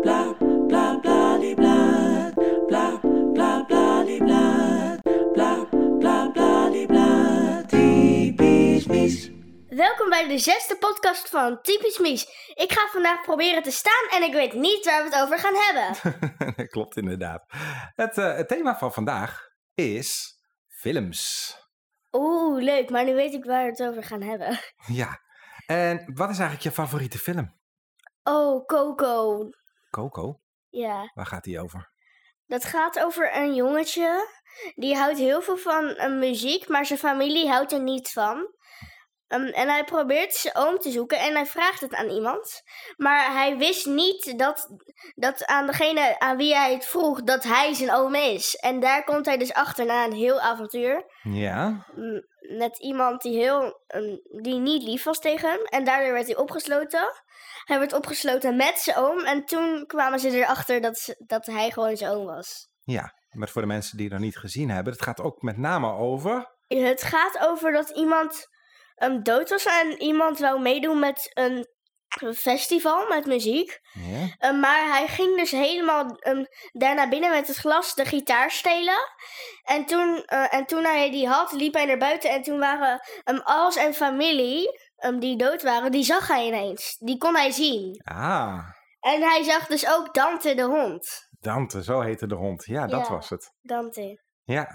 bla bla bla die bla bla bla bla die bla bla bla bla die bla typisch mis. Welkom bij de zesde podcast van Typisch Mies. Ik ga vandaag proberen te staan en ik weet niet waar we het over gaan hebben. Dat klopt inderdaad. Het, eh, het thema van vandaag is films. Oeh, leuk, maar nu weet ik waar we het over gaan hebben. Ja. En wat is eigenlijk je favoriete film? Oh, Coco. Coco, Ja, waar gaat die over? dat gaat over een jongetje. Die houdt heel veel van eh, muziek, maar zijn familie houdt er niet van. Ehm, en hij probeert zijn oom te zoeken en hij vraagt het aan iemand. Maar hij wist niet dat, dat aan degene aan wie hij het vroeg, dat hij zijn oom is. En daar komt hij dus achter na een heel avontuur. Ja. m- met iemand die heel ehm, die niet lief was tegen hem. En daardoor werd hij opgesloten. Hij werd opgesloten met zijn oom. En toen kwamen ze erachter dat, ze- dat hij gewoon zijn oom was. Ja. Maar voor de mensen die het nog niet gezien hebben, het gaat ook met name over. Het gaat over dat iemand ehm, dood was en iemand wou meedoen met een festival met muziek. Ja. Ehm, maar hij ging dus helemaal ehm daar naar binnen met het glas de gitaar stelen. En toen, eh, en toen hij die had, liep hij naar buiten. En toen waren ehm al zijn familie, ehm, die dood waren, die zag hij ineens. Die kon hij zien. Ah, En hij zag dus ook Dante de hond. Dante, zo heette de hond. Ja, dat Ja. was het. Dante. Ja.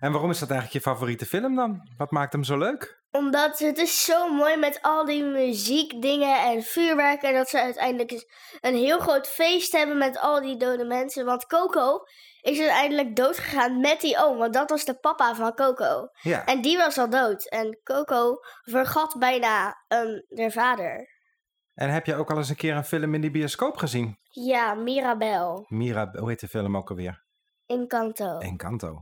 En waarom is dat eigenlijk je favoriete film dan? Wat maakt hem zo leuk? Omdat het is zo mooi met al die muziekdingen en vuurwerk. En dat ze uiteindelijk eens een heel groot feest hebben met al die dode mensen. Want Coco is uiteindelijk doodgegaan met die oom. Want dat was de papa van Coco. Ja. En die was al dood. En Coco vergat bijna ehm, haar vader. En heb je ook al eens een keer een film in die bioscoop gezien? Ja, Mirabel. Mira, hoe heet de film ook alweer? Encanto. Encanto.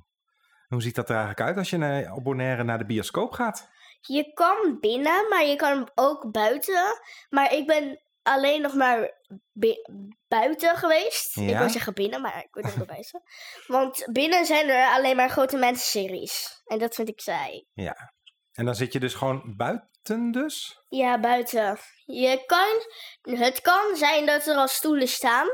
Hoe ziet dat er eigenlijk uit als je naar, op Bonaire naar de bioscoop gaat? Je kan binnen, maar je kan ook buiten. Maar ik ben alleen nog maar bi- buiten geweest. Ik Ja? wil zeggen binnen, maar ik wil er wel bij zeggen. Want binnen zijn er alleen maar grote mensenseries. En dat vind ik saai. Ja. En dan zit je dus gewoon buiten dus? Ja, buiten. Je kan, het kan zijn dat er al stoelen staan.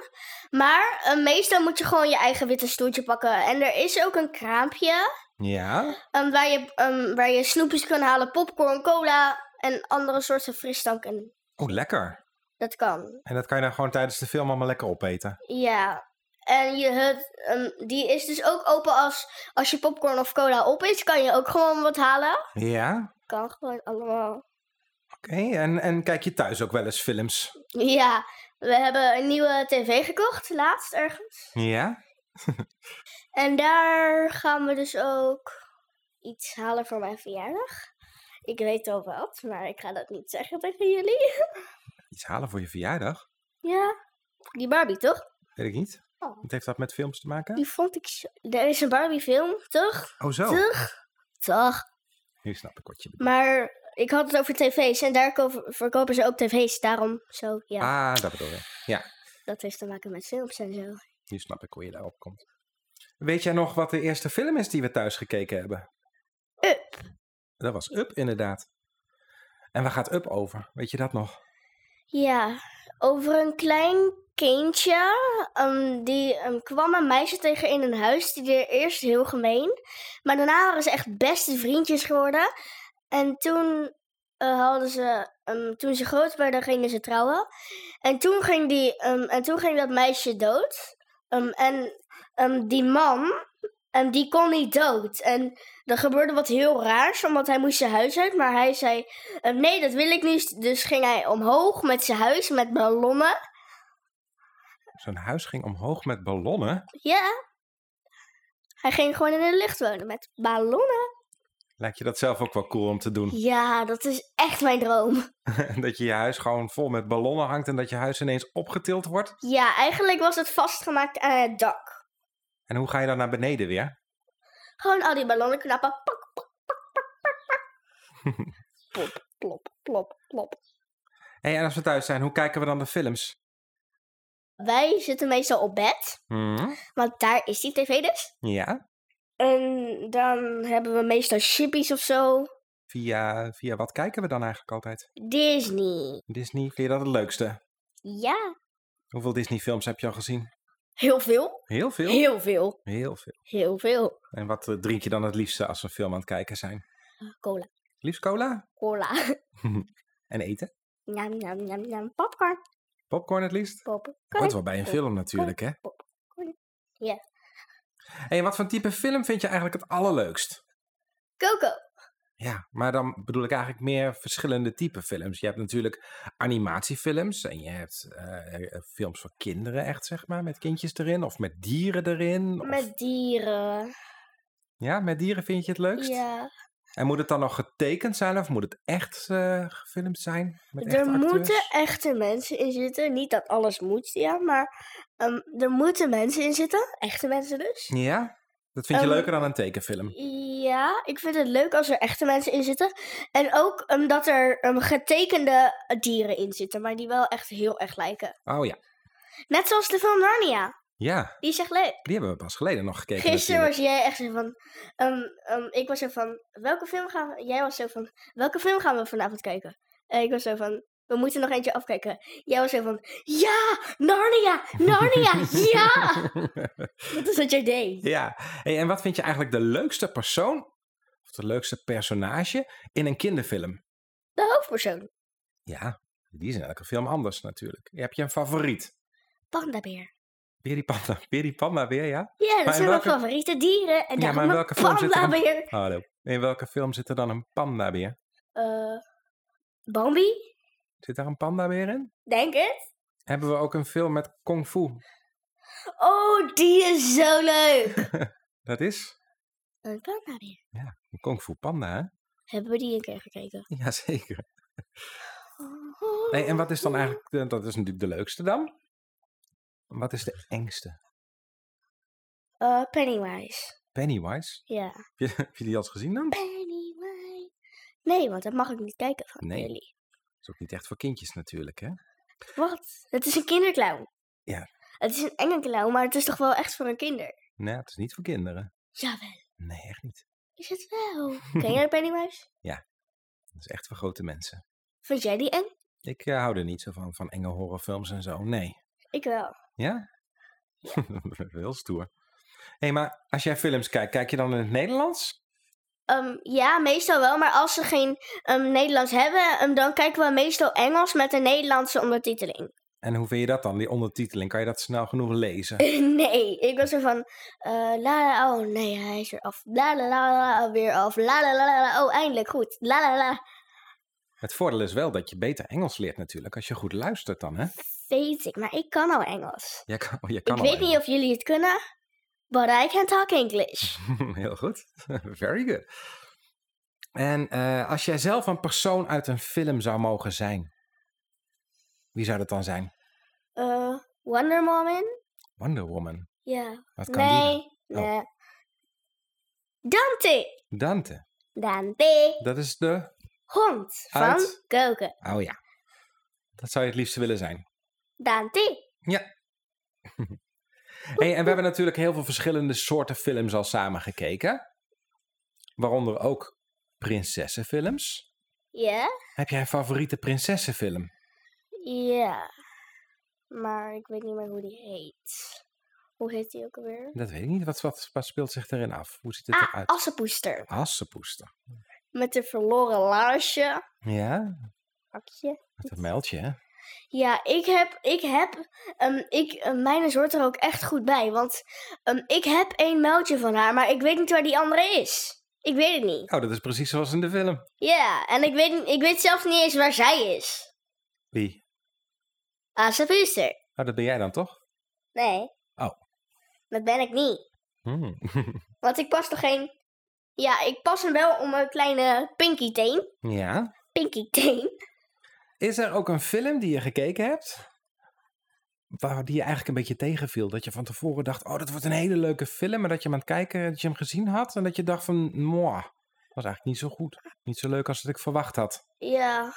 Maar eh, meestal moet je gewoon je eigen witte stoeltje pakken. En er is ook een kraampje Ja. ehm, waar, je, ehm, waar je snoepjes kan halen, popcorn, cola en andere soorten frisdrank. En Oh, lekker. dat kan. En dat kan je dan gewoon tijdens de film allemaal lekker opeten. Ja. En je, het, ehm, die is dus ook open als, als je popcorn of cola op is. Kan je ook gewoon wat halen. Ja. Kan gewoon allemaal. Oké, en, en kijk je thuis ook wel eens films? Ja, we hebben een nieuwe tv gekocht, laatst ergens. Ja. En daar gaan we dus ook iets halen voor mijn verjaardag. Ik weet al wat, maar ik ga dat niet zeggen tegen jullie. Iets halen voor je verjaardag? Ja, die Barbie toch? Weet ik niet. Oh. Wat heeft dat met films te maken? Die vond ik zo... Er is een Barbie film, toch? Oh zo, Toch? Toch. nu snap ik wat je bedoelt. Maar ik had het over tv's en daar ko- verkopen ze ook tv's. Daarom zo, ja, Ah, dat bedoel je. dat heeft te maken met films en zo. Nu snap ik hoe je daarop komt. Weet jij nog wat de eerste film is die we thuis gekeken hebben? Up. Dat was Up, inderdaad. En waar gaat Up over? Weet je dat nog? Ja, over een klein kindje. ehm, die ehm, kwam een meisje tegen in een huis. Die deed eerst heel gemeen. Maar daarna waren ze echt beste vriendjes geworden. En toen eh, hadden ze. ehm, toen ze groot werden, gingen ze trouwen. En toen ging, die, ehm, en toen ging dat meisje dood. Ehm, en ehm, die man. ehm, die kon niet dood. En er gebeurde wat heel raars, omdat hij moest zijn huis uit. Maar hij zei, eh, nee, dat wil ik niet. Dus ging hij omhoog met zijn huis met ballonnen. Zo'n huis ging omhoog met ballonnen. Ja. Hij ging gewoon in de lucht wonen met ballonnen. Lijkt je dat zelf ook wel cool om te doen? Ja, dat is echt mijn droom. dat je je huis gewoon vol met ballonnen hangt en dat je huis ineens opgetild wordt. Ja, eigenlijk was het vastgemaakt aan het dak. En hoe ga je dan naar beneden weer? Gewoon al die ballonnen knappen. Pak, pak, pak, pak, pak, pak. Plop, plop, plop, plop. Hey, en als we thuis zijn, hoe kijken we dan de films? Wij zitten meestal op bed, Hm? want daar is die tv dus. Ja, En dan hebben we meestal chippies of zo. via, via wat kijken we dan eigenlijk altijd? Disney. Disney, vind je dat het leukste? Ja. Hoeveel Disney-films heb je al gezien? Heel veel. Heel veel. Heel veel. Heel veel. Heel veel. En wat eh, drink je dan het liefste als we een film aan het kijken zijn? Cola. Liefst cola Cola. en eten? Nam, nam, nam, nam. Popcorn. Popcorn het liefst? Popcorn. Hoort wel bij een film natuurlijk, hè? Ja. En wat voor type film vind je eigenlijk het allerleukst? Coco. Ja, maar dan bedoel ik eigenlijk meer verschillende type films. Je hebt natuurlijk animatiefilms en je hebt eh, films voor kinderen echt, zeg maar, met kindjes erin of met dieren erin. of- Met dieren. Ja, met dieren vind je het leukst? Ja. En moet het dan nog getekend zijn of moet het echt eh, gefilmd zijn? Met Er echte moeten acteurs? echte mensen in zitten. Niet dat alles moet, ja, maar ehm, er moeten mensen in zitten. Echte mensen dus. Ja? Dat vind je Ehm, leuker dan een tekenfilm? Ja, ik vind het leuk als er echte mensen in zitten. En ook ehm, dat er ehm, getekende dieren in zitten, maar die wel echt heel erg lijken. Oh ja. Net zoals de film Narnia. Ja, Die is echt leuk. die hebben we pas geleden nog gekeken. Gisteren natuurlijk. was jij echt zo van. ehm, ehm, ik was zo van. Welke film gaan we. Jij was zo van. Welke film gaan we vanavond kijken? En ik was zo van. We moeten nog eentje afkijken. Jij was zo van. Ja! Narnia! Narnia! Ah, ja! Dat is wat jij deed. Ja, hey, en wat vind je eigenlijk de leukste persoon of de leukste personage in een kinderfilm? De hoofdpersoon. Ja, die is in elke film anders natuurlijk. Heb je een favoriet? Pandabeer. Weer die panda, weer die panda weer, ja? Ja, dat in zijn welke- mijn favoriete dieren. En Ja, daarom maar in welke een film zit er een- pandabeer. Hallo. In welke film zit er dan een panda weer? Eh, Bambi, Zit daar een panda weer in? denk het. Hebben we ook een film met kung fu? Oh, die is zo leuk. Dat is Een pandabeer. een kung fu panda, hè? Hebben we die een keer gekeken? Jazeker. Hey, en wat is dan eigenlijk, de- dat is natuurlijk de leukste dan? Wat is de engste? Eh, Pennywise. Pennywise? Ja. Heb je, heb je die al eens gezien dan? Pennywise. Nee, want dat mag ik niet kijken van Nee. jullie. is ook niet echt voor kindjes natuurlijk, hè? Wat? Het is een kinderclown. Ja. Het is een enge clown, maar het is toch wel echt voor een kinder? Nee, het is niet voor kinderen. Jawel. Nee, echt niet. Is het wel? Ken jij Pennywise? Het is echt voor grote mensen. Vind jij die eng? Ik eh, hou er niet zo van, van enge horrorfilms en zo. Nee. Ik wel. Ja? Heel stoer. Hé, hey, maar als jij films kijkt, kijk je dan in het Nederlands? Ehm, ja, meestal wel. Maar als ze geen ehm, Nederlands hebben, ehm, dan kijken we meestal Engels met een Nederlandse ondertiteling. En hoe vind je dat dan, die ondertiteling? Kan je dat snel genoeg lezen? nee, ik was er van. eh, la la, oh nee, hij is er af. La la la la, weer af. La la la la, la, oh eindelijk goed. La la la. Het voordeel is wel dat je beter Engels leert natuurlijk, als je goed luistert dan, hè? Weet ik, maar ik kan al Engels. Jij kan, je kan ik al weet niet of jullie het kunnen, but I can talk English. Engels. Heel goed. Very good. En eh, als jij zelf een persoon uit een film zou mogen zijn, wie zou dat dan zijn? Eh, Wonder Woman? Wonder Woman. Ja. Wat kan die Nee, dan? Oh. nee. Dante. dan? Dante. Dante. Dat is de... Hond van Uit. Koken. Oh ja. Dat zou je het liefste willen zijn. Dante. Hey, en we hebben natuurlijk heel veel verschillende soorten films al samen gekeken. Waaronder ook prinsessenfilms. Ja? Heb jij een favoriete prinsessenfilm? Ja. Maar ik weet niet meer hoe die heet. Hoe heet die ook alweer? Dat weet ik niet. Wat, wat, wat speelt zich erin af? Hoe ziet het Ah, eruit? Assenpoester. Assenpoester. Met de verloren laarsje. Ja, Hakje. met een mijltje. hè? Ja, ik heb, ik heb, ehm, ik, eh, mijn hoort er ook echt goed bij. Want ehm, ik heb één muiltje van haar, maar ik weet niet waar die andere is. Ik weet het niet. Oh, dat is precies zoals in de film. Ja, en ik weet, ik weet zelf niet eens waar zij is. Ah, Wie? Assenpoester. Oh, dat ben jij dan toch? Nee. Oh. Dat ben ik niet. Hmm. Want ik pas toch geen. Ja, ik pas hem wel om mijn kleine pinky teen. ja. Pinky teen. Is er ook een film die je gekeken hebt? Waar die je eigenlijk een beetje tegenviel. Dat je van tevoren dacht, oh, dat wordt een hele leuke film. Maar dat je hem aan het kijken, dat je hem gezien had. En dat je dacht van, moi, was eigenlijk niet zo goed. Niet zo leuk als dat ik verwacht had. Ja.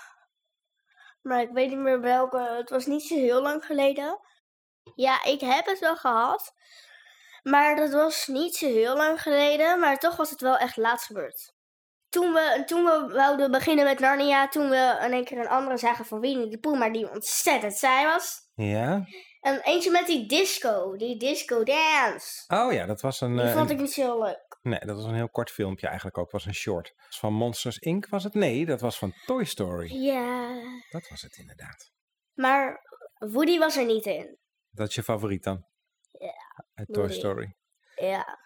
Maar ik weet niet meer welke. Het was niet zo heel lang geleden. Ja, ik heb het wel gehad. Maar dat was niet zo heel lang geleden. Maar toch was het wel echt laatst gebeurd. Toen we, toen we wouden beginnen met Narnia, toen we in één keer een andere zagen van Winnie de Pooh, maar die ontzettend saai was. Ja? Ehm, eentje met die disco, die disco dance. Oh ja, dat was een, Die eh, vond een- ik niet zo heel leuk. nee, dat was een heel kort filmpje eigenlijk ook. was een short. Was van Monsters Inc. was het? Nee, dat was van Toy Story. Ja, Dat was het inderdaad. maar Woody was er niet in. Dat is je favoriet dan? Ja, Uit Toy Woody. Story. Ja,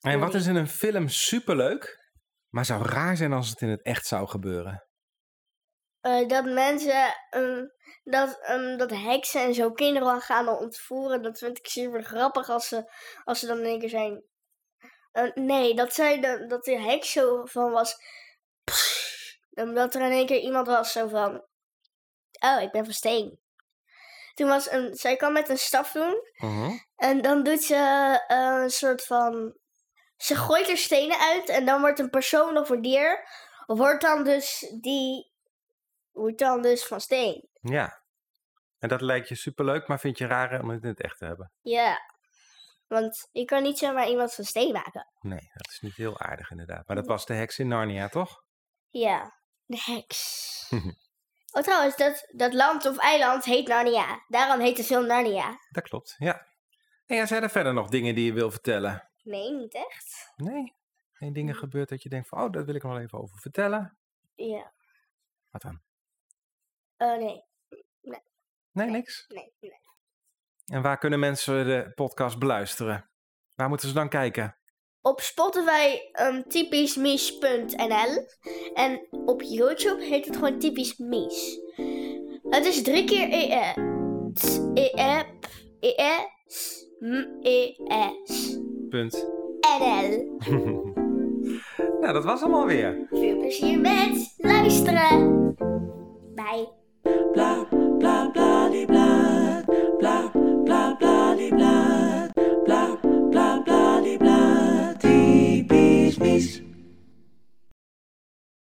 En wat Woody. is in een film superleuk, maar zou raar zijn als het in het echt zou gebeuren? Eh, dat mensen, ehm, dat, ehm, dat heksen en zo kinderen al gaan ontvoeren, dat vind ik super grappig als ze, als ze dan in één keer zijn. Eh, nee, dat, zij de, dat de heks zo van was. Dan dat er in één keer iemand was zo van. Oh, ik ben van steen. Toen was een, zij kwam met een staf doen En dan doet ze eh, een soort van. Ze gooit er stenen uit en dan wordt een persoon of een dier. Wordt dan dus die. Wordt dan dus van steen. Ja. En dat lijkt je superleuk, maar vind je raar om het in het echt te hebben? Ja. Want je kan niet zomaar iemand van steen maken. Nee, dat is niet heel aardig inderdaad. Maar dat was de heks in Narnia, toch? Ja. De heks. oh, trouwens, dat, dat land of eiland heet Narnia. Daarom heet de film Narnia. Dat klopt, ja. En ja, zijn er verder nog dingen die je wil vertellen? Nee, niet echt. Nee. Geen dingen gebeurt dat je denkt van, oh, daar wil ik nog wel even over vertellen. Ja. Wat dan? Oh, nee. Nee, niks. Nee. nee. En waar kunnen mensen de podcast beluisteren? Waar moeten ze dan kijken? Op Spotify ehm typischmies.nl en op YouTube heet het gewoon typisch mies. Het is drie keer e s e app e s m e s Punt. nl. nou, dat was allemaal weer. Veel plezier met luisteren. Bye. blah blah blah de blah blah blah blah de blah blah blah blah de blah typisch mis